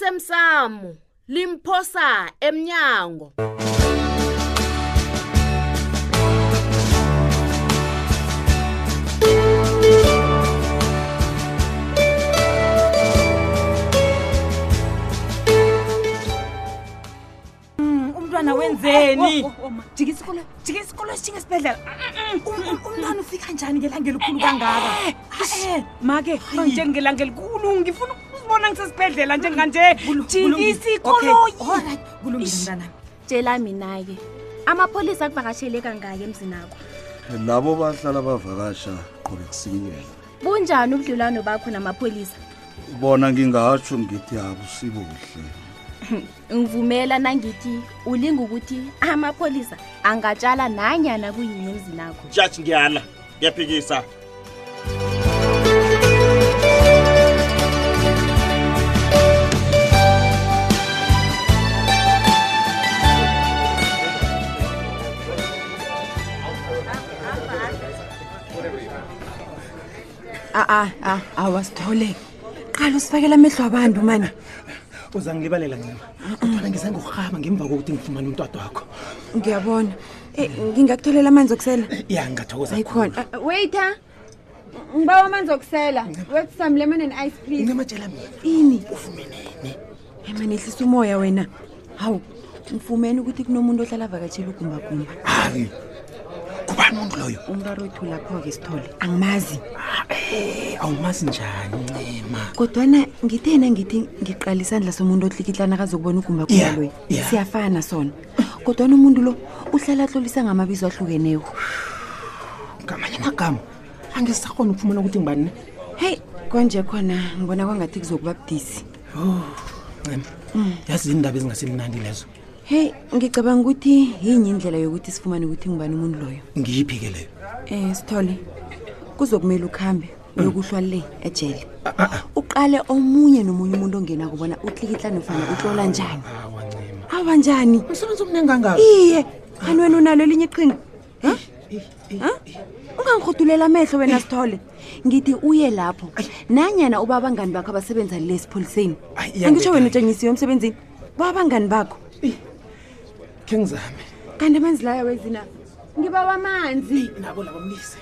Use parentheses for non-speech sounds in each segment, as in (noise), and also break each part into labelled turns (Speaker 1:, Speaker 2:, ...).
Speaker 1: osemsamo limphosa emnyango
Speaker 2: umntwana
Speaker 3: Oh,
Speaker 2: wenzeni
Speaker 3: jika isikolo jika isikolo esijinga esibhedlela Um, umntwana ufika njani ngelanga elikhulu kangaka
Speaker 2: Eh, make njengelanga elikhulu ngifuna ukuzibona ngisesibhedlela njenganje
Speaker 4: Mm,
Speaker 2: jika isikoloyi
Speaker 3: olright kulungile mntanami
Speaker 5: tshela mina-ke amapholisa akuvakashele kangaki emzinakho
Speaker 6: labo bahlala bavakasha qobe kusikinyela
Speaker 5: bunjani ubudlelwano bakho namapholisa
Speaker 6: bona ngingatsho ngithi abusibuhle
Speaker 5: ngivumela nangithi ulinga ukuthi amapholisa angatshala nanyana kuyini emzinakho
Speaker 7: jaji ngiyala ngiyaphikisa
Speaker 4: a a awasithole ah, qala usifakela amehlo abantu mani
Speaker 8: uzangilibalela ncema kodwana ngisangokuhaba ngemva kokuthi ngifumane umntwado wakho
Speaker 4: ngiyabona Eh, ngingakutholela amanzi okusela
Speaker 8: ya ngathokoza
Speaker 4: ayikhona
Speaker 9: waiter ngibawa amanzi okusela wet some lemon and ice please
Speaker 8: nematshela mina
Speaker 4: ini emani ehlisa umoya wena hawu ngifumene ukuthi kunomuntu ohlala avakatshela ugumbagumba
Speaker 8: hayi kubani umuntu loyo
Speaker 4: umraro wethu lapho-ke sithole angimazi
Speaker 8: awumazi njani ncema
Speaker 4: kodwana ngithena ngithi ngiqala isandla somuntu ohlikitlana akazokubona ugumbagumba
Speaker 8: Yeah,
Speaker 4: loyo
Speaker 8: yeah.
Speaker 4: siyafana sona kodwana umuntu lo uhlala ahlolisa ngamabizo ahlukeneko
Speaker 8: ngamanye amagama angisakhona ukufumana ukuthi ngibani
Speaker 4: heyi konje khona ngibona kwangathi kuzokuba budisi
Speaker 8: ncema yazi indaba ezingasemnandi lezo
Speaker 4: heyi ngicabanga ukuthi yinye indlela yokuthi sifumane ukuthi ngibani umuntu loyo
Speaker 8: ngiyiphi-ke leyo
Speaker 4: um sithole kuzokumele ukuhambe uyokuhlwa le ejele uqale omunye nomunye umuntu ongena kubona utlikitla nofana utlola njani
Speaker 8: awa ncema
Speaker 4: awa njani
Speaker 8: umsebenzi omningi angaka
Speaker 4: iye kanti wena unalo elinye iqhinga Ha? Ha? ungangihudulela amehlo wena sithole ngithi uye lapho nanyana uba abangani bakho abasebenza le esipholiseni
Speaker 8: Ay, iya,
Speaker 4: angitsho wena
Speaker 8: ngekhaya.
Speaker 4: utshengisiwe emsebenzini babangani bakho
Speaker 8: khe ngizame
Speaker 4: kanti amanzi layo wezina
Speaker 9: ngibawa amanzi
Speaker 8: nabo laba mlise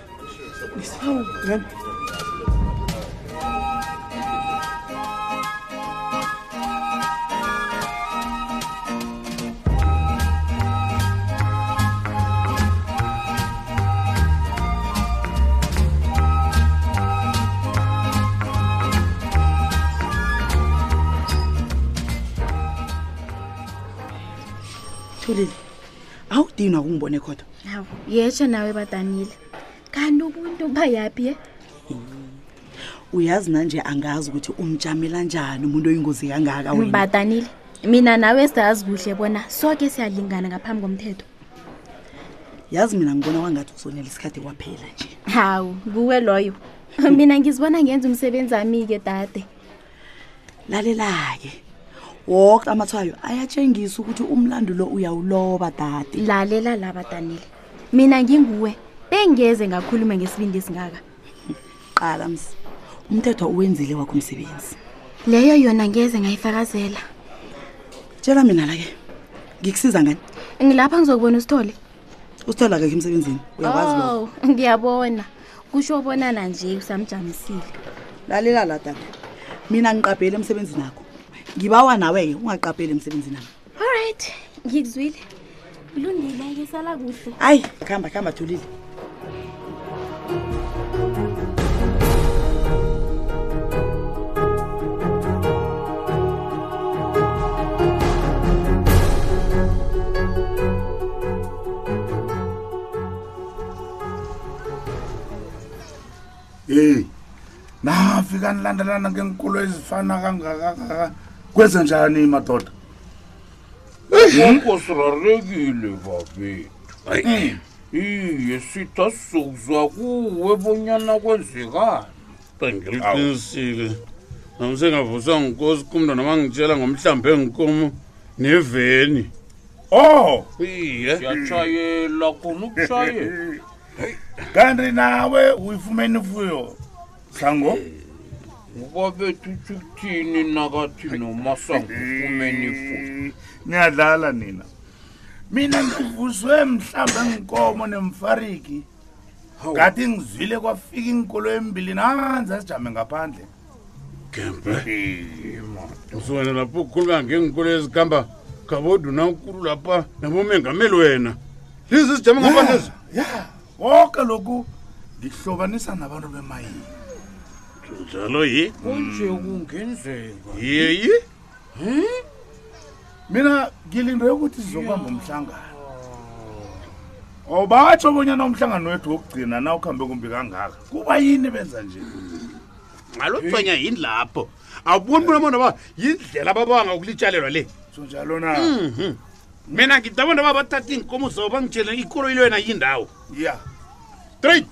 Speaker 8: Mlise. Ncema.
Speaker 10: thulile awudinwa kungibone khona
Speaker 5: hawu yetsho nawe badanile kanti ubuntu bayaphi ye
Speaker 10: uyazi nanje angazi ukuthi umjamela njani umuntu oyingozi kangaka
Speaker 4: Mm.
Speaker 10: wena
Speaker 5: badanile mina nawe sazi kuhle bona soke siyalingana ngaphambi komthetho
Speaker 10: yazi mina ngibona kwangathi uzonela isikhathi kwaphela nje
Speaker 5: hawu kuwe loyo (laughs) mina ngizibona ngenza umsebenzi ami-ke dade
Speaker 10: lalela-ke woke amathwayo ayatshengisa ukuthi umlando lo uyawuloba dade
Speaker 5: lalela la badanile mina nginguwe bengeze ngakhuluma ngesibindi esingaka
Speaker 10: qala msi umthetho uwenzile wakho umsebenzi
Speaker 5: leyo yona ngeze ngayifakazela
Speaker 10: tshela mina la-ke ngikusiza ngani
Speaker 5: ngilapha ngizokubona usithole
Speaker 10: usithola-ke ke emsebenzini uyakwazi lo
Speaker 5: oh ngiyabona kusho bonana nje usamjamisile
Speaker 10: lalela la dade mina ngiqabhele emsebenzini akho ngibawa nawe-ke ungaqabheli emsebenzini ami
Speaker 5: allright ngikuzwile kulungile-ke sala kuhle
Speaker 10: hayi kuhamba kuhamba thulile
Speaker 11: heyi nafika nilandelana ngeenkulo ezifana kangakakaka kwenze njani madoda
Speaker 12: ukosirarekile babethu
Speaker 6: Eh.
Speaker 12: iye sitha sizokuzwa kuwe bonyana kwenzekani
Speaker 11: Bengiliqinisile.
Speaker 12: namsengavuswa ngikosi kumntwana abangitshela ngomhlambe enkomo neveni
Speaker 11: o
Speaker 12: iye siyatshayela khona ukushayela
Speaker 11: kanti nawe uyifumene ifuyo sango
Speaker 12: ubabethu uthi kuthini nakathi nomasango ufumeni ifuni
Speaker 11: Eh, niyadlala nina mina ngivuzwe mhlawumbe nginkomo nemfariki ngathi ngizwile kwafika inkolo embili nanzi asijame ngaphandle
Speaker 12: gembe uswena lapho ukhuluma ngeenkolo ezikhamba kabodi unankulu lapha nabomengameli wena lize sijame ngaphandlezo
Speaker 11: ya konke lokhu ngihlobanisa nabantu bemayini
Speaker 7: Ah,
Speaker 12: njalo yi kunje kungenzeka yeyi
Speaker 11: mina ngilinde ukuthi sizokubamba umhlangano obatsho bonyana umhlangano wethu wokugcina na ukuhambe kumbi kangaka kuba yini benza nje
Speaker 7: ngalotswenya yini lapho awuboni bona bona ba yindlela ababanga ukulitshalelwa le
Speaker 11: sonjalo na
Speaker 7: mina ngidabona ba bathatha iinkomo zabo bangitshele ikoloyi leyona yindawo
Speaker 11: ya
Speaker 7: straight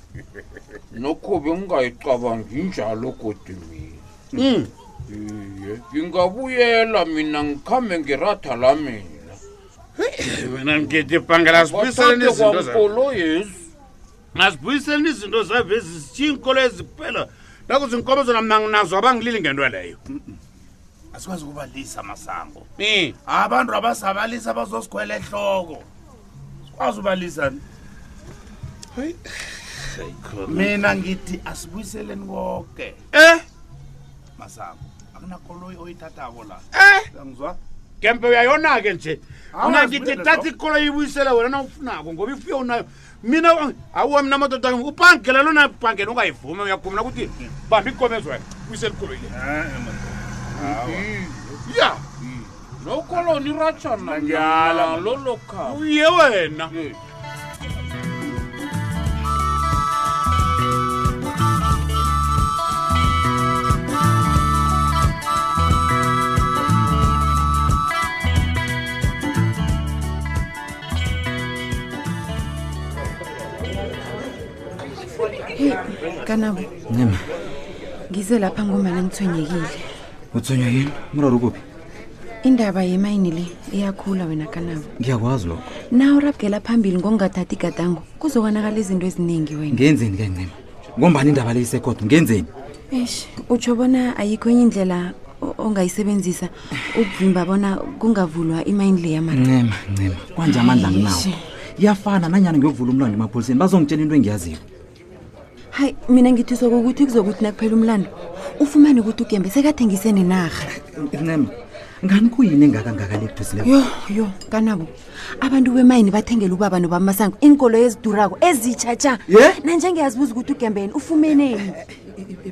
Speaker 12: nokho bengingayicabangi njalo godi
Speaker 13: Mm.
Speaker 12: mina iye ngingabuyela mina ngikhambe ngiratha la mina
Speaker 7: Eh, wena mgidi bhangela
Speaker 12: asibuyiseleni izinto zayo.
Speaker 7: yesu asibuyiseleni izinto zave zisitshiya iinkolo ezikuphela naku zinkomo zona mna nazo abangilili ngento leyo
Speaker 11: asikwazi ukubalisa masango
Speaker 7: Eh.
Speaker 11: abantu abasabalisa bazosikhwela ehloko sikwazi ubalisa ni? mina ngithi asibuyiseleni konke
Speaker 7: eh
Speaker 11: masango akunakoloyi oyithathako la
Speaker 7: eh.
Speaker 11: angizwa
Speaker 7: gembe uyayona-ke nje
Speaker 11: Awa,
Speaker 7: mna ngithi
Speaker 11: zibuyele
Speaker 7: thatha
Speaker 11: lokho.
Speaker 7: ikolo iyibuyisela wena nawufunako ngoba ifuyo unayo mina awuwa mina amadoda ami ubhangela lona bhangela ungayivumi uyakhumula ukuthi bamba ikomezo wena buyisela ikolo ile ya
Speaker 12: nokoloni iratshana
Speaker 7: Ngiyala.
Speaker 12: lolo khaba
Speaker 7: uye wena
Speaker 4: heyi kanabo
Speaker 8: ncema
Speaker 4: ngize lapha ngombana ngithwenyekile
Speaker 8: uthonywa yini umraro kuphi
Speaker 4: indaba yemayini le iyakhula wena kanabo
Speaker 8: ngiyakwazi lokho
Speaker 4: na urabukela phambili ngokungathathi igadango kuzokonakala izinto eziningi wena
Speaker 8: ngenzeni ke ncema ngombani indaba le isekodwa ngenzeni
Speaker 4: esh utsho bona ayikho enye indlela o- ongayisebenzisa ukuvimba bona kungavulwa imayini le yamara
Speaker 8: ncema ncema kwanje amandla anginawo
Speaker 4: Eish.
Speaker 8: iyafana nanyana ngiyokuvula umlando emapholiseni bazongitshela into engiyaziyo
Speaker 4: hayi mina ngithi sokokuthi kuzokuthi nakuphela umlando ufumane ukuthi ugembe sekathengise nenarha
Speaker 8: ncema ngani kuyini engakangaka le kudusileyo
Speaker 4: yo yo kanabo abantu bemayini bathengela ubaba nobamasango iinkolo ezidurako ezitshatsha
Speaker 8: Ye?
Speaker 4: nanje ngiyazibuza ukuthi ugembeni
Speaker 8: (laughs)
Speaker 4: ufumeneni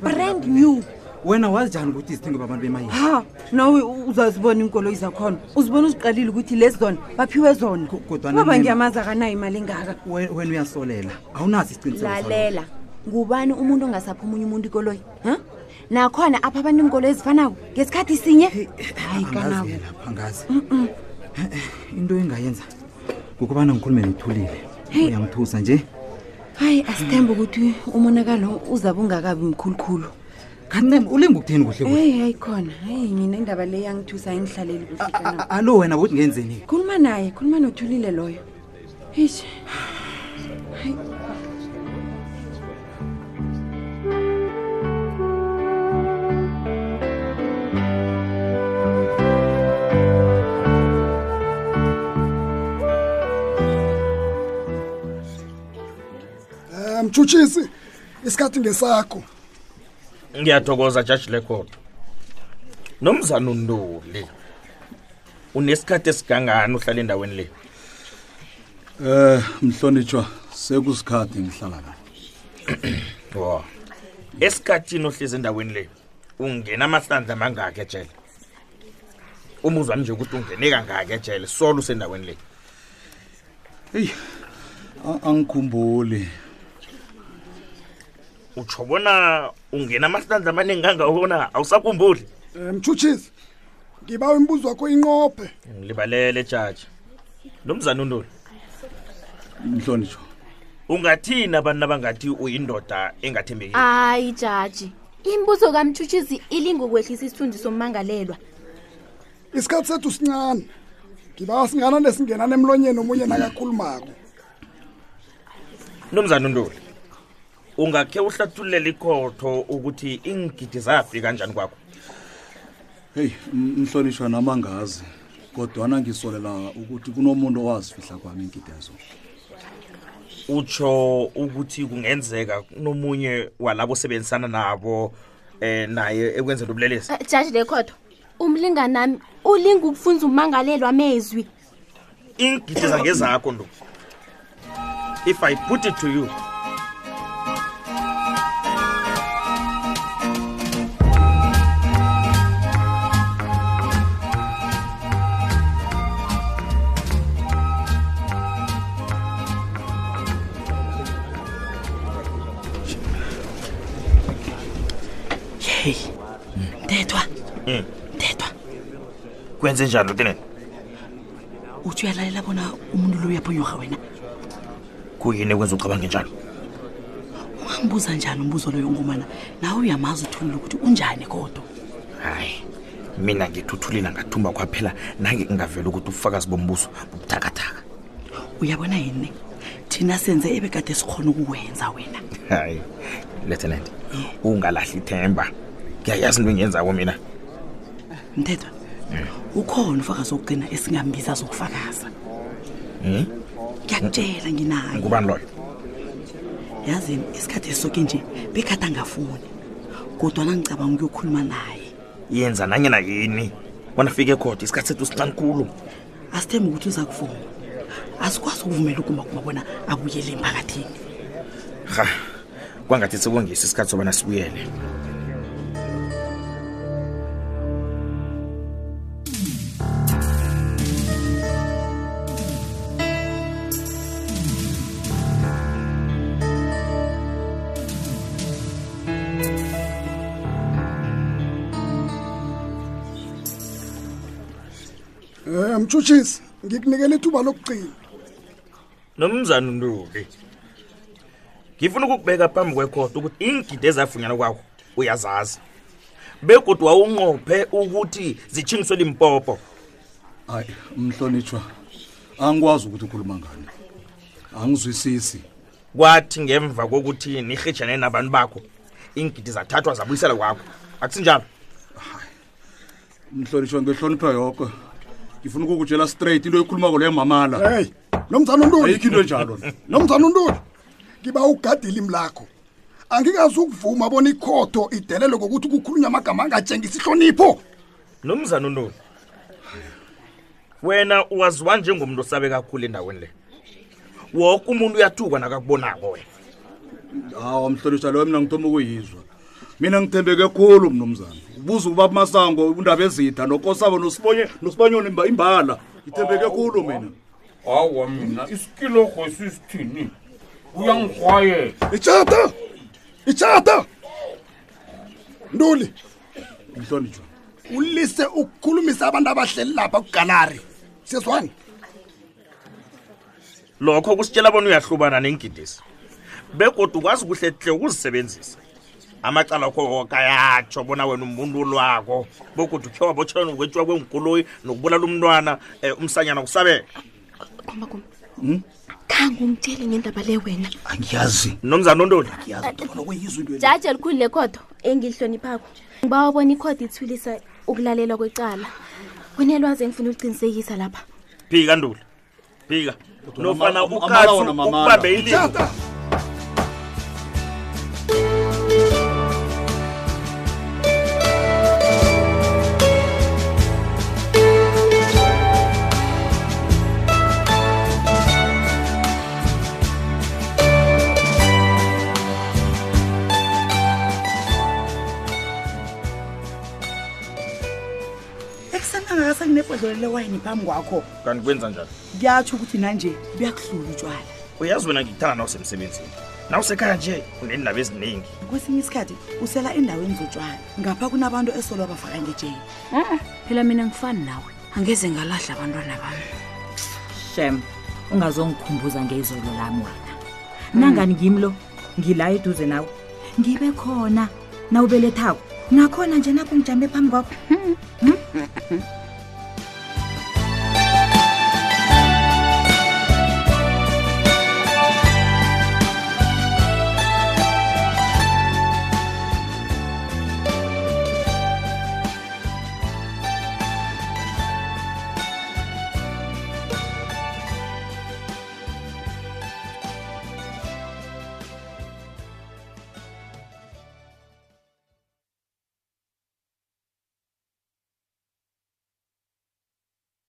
Speaker 4: brand new
Speaker 8: wena wazi njani ukuthi izithengwe babantu bemayini
Speaker 9: ha nawe u- uzazibona iinkoloyi zakhona uzibona uziqalile ukuthi lezi zona baphiwe zona
Speaker 8: kodwa
Speaker 9: baba
Speaker 8: nini-
Speaker 9: ngiyamaza kanayo imali engaka
Speaker 8: We- wena uyasolela awunaso isiqiniseko salokho.
Speaker 4: lalela ngubani umuntu ongasaphi omunye umuntu ikoloyi ha nakhona apha abantu iinkoloyi ezifanako ngesikhathi sinye
Speaker 8: angazi
Speaker 4: hayi kanabo
Speaker 8: ke lapha angazi into engayenza ngokubana ngikhulume nothulile
Speaker 4: Hey.
Speaker 8: uyangithusa nje
Speaker 4: hayi asithembe ukuthi umonakalo uzabe ungakabi mkhulukhulu
Speaker 8: kancema ulinga ukutheni kuhle kuhle
Speaker 4: eyi hayi khona hayi mina indaba le yangithusa ayingihlaleli kuhle kanabo
Speaker 8: alo wena bothi ngenzeni
Speaker 4: khuluma naye khuluma nothulile loyo eish
Speaker 13: Eh, mtshutshisi isikhathi ngesakho
Speaker 14: ngiyathokoza jaji lekhodo nomzana untuli unesikhathi esigangani uhlala endaweni le
Speaker 6: Eh mhlonitshwa sekusikhathi ngihlala la.
Speaker 14: wa esikhathini ohlezi endaweni le ungena amahlandla amangaki ejele umuzwa nje ukuthi ungene kangaki ejele solo usendaweni le
Speaker 6: A- Angikhumbuli.
Speaker 14: utsho bona ungena amahlandla amaningi kangakona awusakhumbuli
Speaker 13: Eh, mtshutshisi ngibawa imibuzo wakho inqophe
Speaker 14: ngilibalele jaji nomzana untuli
Speaker 6: Mhlonitshwa.
Speaker 14: ungathini abantu abangathi uyindoda engathembeki
Speaker 5: hayi jaji imibuzo kamtshutshisi ilinga ukwehlisa isithunzi sommangalelwa
Speaker 13: isikhathi sethu sincane ngibawa singana nesingenana emlonyeni omunye nakakhulumako
Speaker 14: nomzana untuli ungakhe uhlathulele ikhotho ukuthi ingidi zafi kanjani kwakho
Speaker 6: heyi m- mhlonishwa namangazi kodwana ngisolela ukuthi kunomuntu owazifihla kwami ingidezo
Speaker 14: utsho ukuthi kungenzeka nomunye walabo osebenzisana nabo eh naye ekwenzela ubulelesi
Speaker 5: Eh, jaji lekhotho umlinganami ulinga ukufunza ummangalelwa amezwi
Speaker 14: igidiza ngezakho nto if i put it to you
Speaker 10: yeyi ndedwa
Speaker 14: Mm.
Speaker 10: ndedwa
Speaker 14: kwenze njani ntotenene
Speaker 10: uthi uyalalela bona umuntu lo uyaphunyurha wena
Speaker 14: kuyini ekwenza ucabange njalo
Speaker 10: ungangibuza njani umbuzo loyo ngomana nawe uyamazi uthulile ukuthi unjani kodwa
Speaker 14: hayi mina ngithuthulile ngathumba kwaphela nange ngingavela ukuthi ubufakazi bombuso bubuthakathaka
Speaker 10: uyabona yini thina senze ebekade sikhona ukuwenza wena
Speaker 14: hayi lieutenant ungalahli ithemba ngiyayazi into engiyenzako mina
Speaker 10: mthethwa ukhona ufakazi wokugcina esingambiza zokufakaza
Speaker 14: Hmm?
Speaker 10: ngiyakutshela nginayo
Speaker 14: ngubani loyo
Speaker 10: yazi isikhathi soke nje bekade angafuni kodwana ngicabanga ukuyokhuluma naye
Speaker 14: yenza nanyena yini bona fike ekhoda isikhathi sethu sincane khulu
Speaker 10: asithembe ukuthi uza kuvuma asikwazi ukuvumela ugumbagumba bona abuyele emphakathini
Speaker 14: ha kwangathi sekungisi isikhathi sobana sibuyele
Speaker 13: Eh mtshutshisi, ngikunikele ithuba lokugcina.
Speaker 14: nomzana ntuli ngifuna ukukubeka phambi kwekhoda ukuthi iingidi ezafunyanwa kwakho uyazazi begodwa wawunqophe ukuthi zitshingiswe limpopo
Speaker 6: hayi mhlonitshwa angikwazi ukuthi ukhuluma ngani angizwisisi
Speaker 14: kwathi ngemva kokuthi nirhijane nabantu bakho iingidi zathathwa zabuyiselwa kwakho akusinjalo
Speaker 6: mhlonitshwa ngehlonipha yoko ngifuna ukukutshela straight into yokhulumako leyo mamala
Speaker 13: Hey, nomzana uNtuli.
Speaker 6: ayikho into njalo
Speaker 13: Nomzana uNtuli. Ngiba ugadile imlakho. Angikazukuvuma bona ikhotho idelele ngokuthi kukhulunywa amagama angatshengisa ihlonipho.
Speaker 14: nomzana untuli wena uwaziwa njengomuntu osabe kakhulu endaweni le woke umuntu uyathukwa nakakubonako wena
Speaker 6: hawa mhlonitshwa leyo mina ngithoma ukuyizwa mina ngithembeke khulu mnumzana ubuza ubaba masango undaba ezitha nokosabo nosibonye nosibanyoni imba- imbala ngithembeke khulu mina
Speaker 15: hawa mina isikilorho sisithini uyangikrwayela
Speaker 13: Itshata! Itshata! Ntuli,
Speaker 6: mhlonitshwa
Speaker 13: ulise ukukhulumisa abantu abahleli lapha kugalari. Siyazwani?
Speaker 14: lokho kusitshela bona uyahlubana nengidisi begodwa ukwazi kuhle hle ukuzisebenzisa amacala akho woke ayatsho bona wena umuntu lwako bogodwa ukhe wabotshelana ukwetshiwa kwenkoloyi nokubulala umntwana um umsanyana kusabela
Speaker 5: gumbagumba khange ungitshele ngendaba le wena
Speaker 6: angiyazi
Speaker 14: nomzana ontoli
Speaker 5: jaji elikhulu lekhotho engilihloniphakho ngiba wabona ikhotho ithulisa ukulalelwa kwecala kunelwazi engifuna uliqinisekisa lapha
Speaker 14: phika ntuli phika nofana
Speaker 6: ama- amala
Speaker 14: ukatsu
Speaker 6: wona mamala.
Speaker 14: ukubambe ilimi
Speaker 10: ekuseni angakase nginebhodlelo lewayini phambi kwakho
Speaker 14: kanti kwenza njani
Speaker 10: kuyatsho ukuthi nanje buyakuhlula utshwala
Speaker 14: uyazi wena ngithanda nawusemsebenzini nawusekhaya nje unendaba eziningi
Speaker 10: kwesinye isikhathi usela endaweni zotshwala ngapha kunabantu esolo abafaka ngejeni
Speaker 16: Ah, phela mina ngifani nawe angeze ngalahla abantwana bami shem ungazongikhumbuza ngezolo lami wena nangani ngimi lo ngila eduze nawe Hmm. ngibe khona nawubelethako nakhona nje nakho ngijambe phambi kwakho Hmm?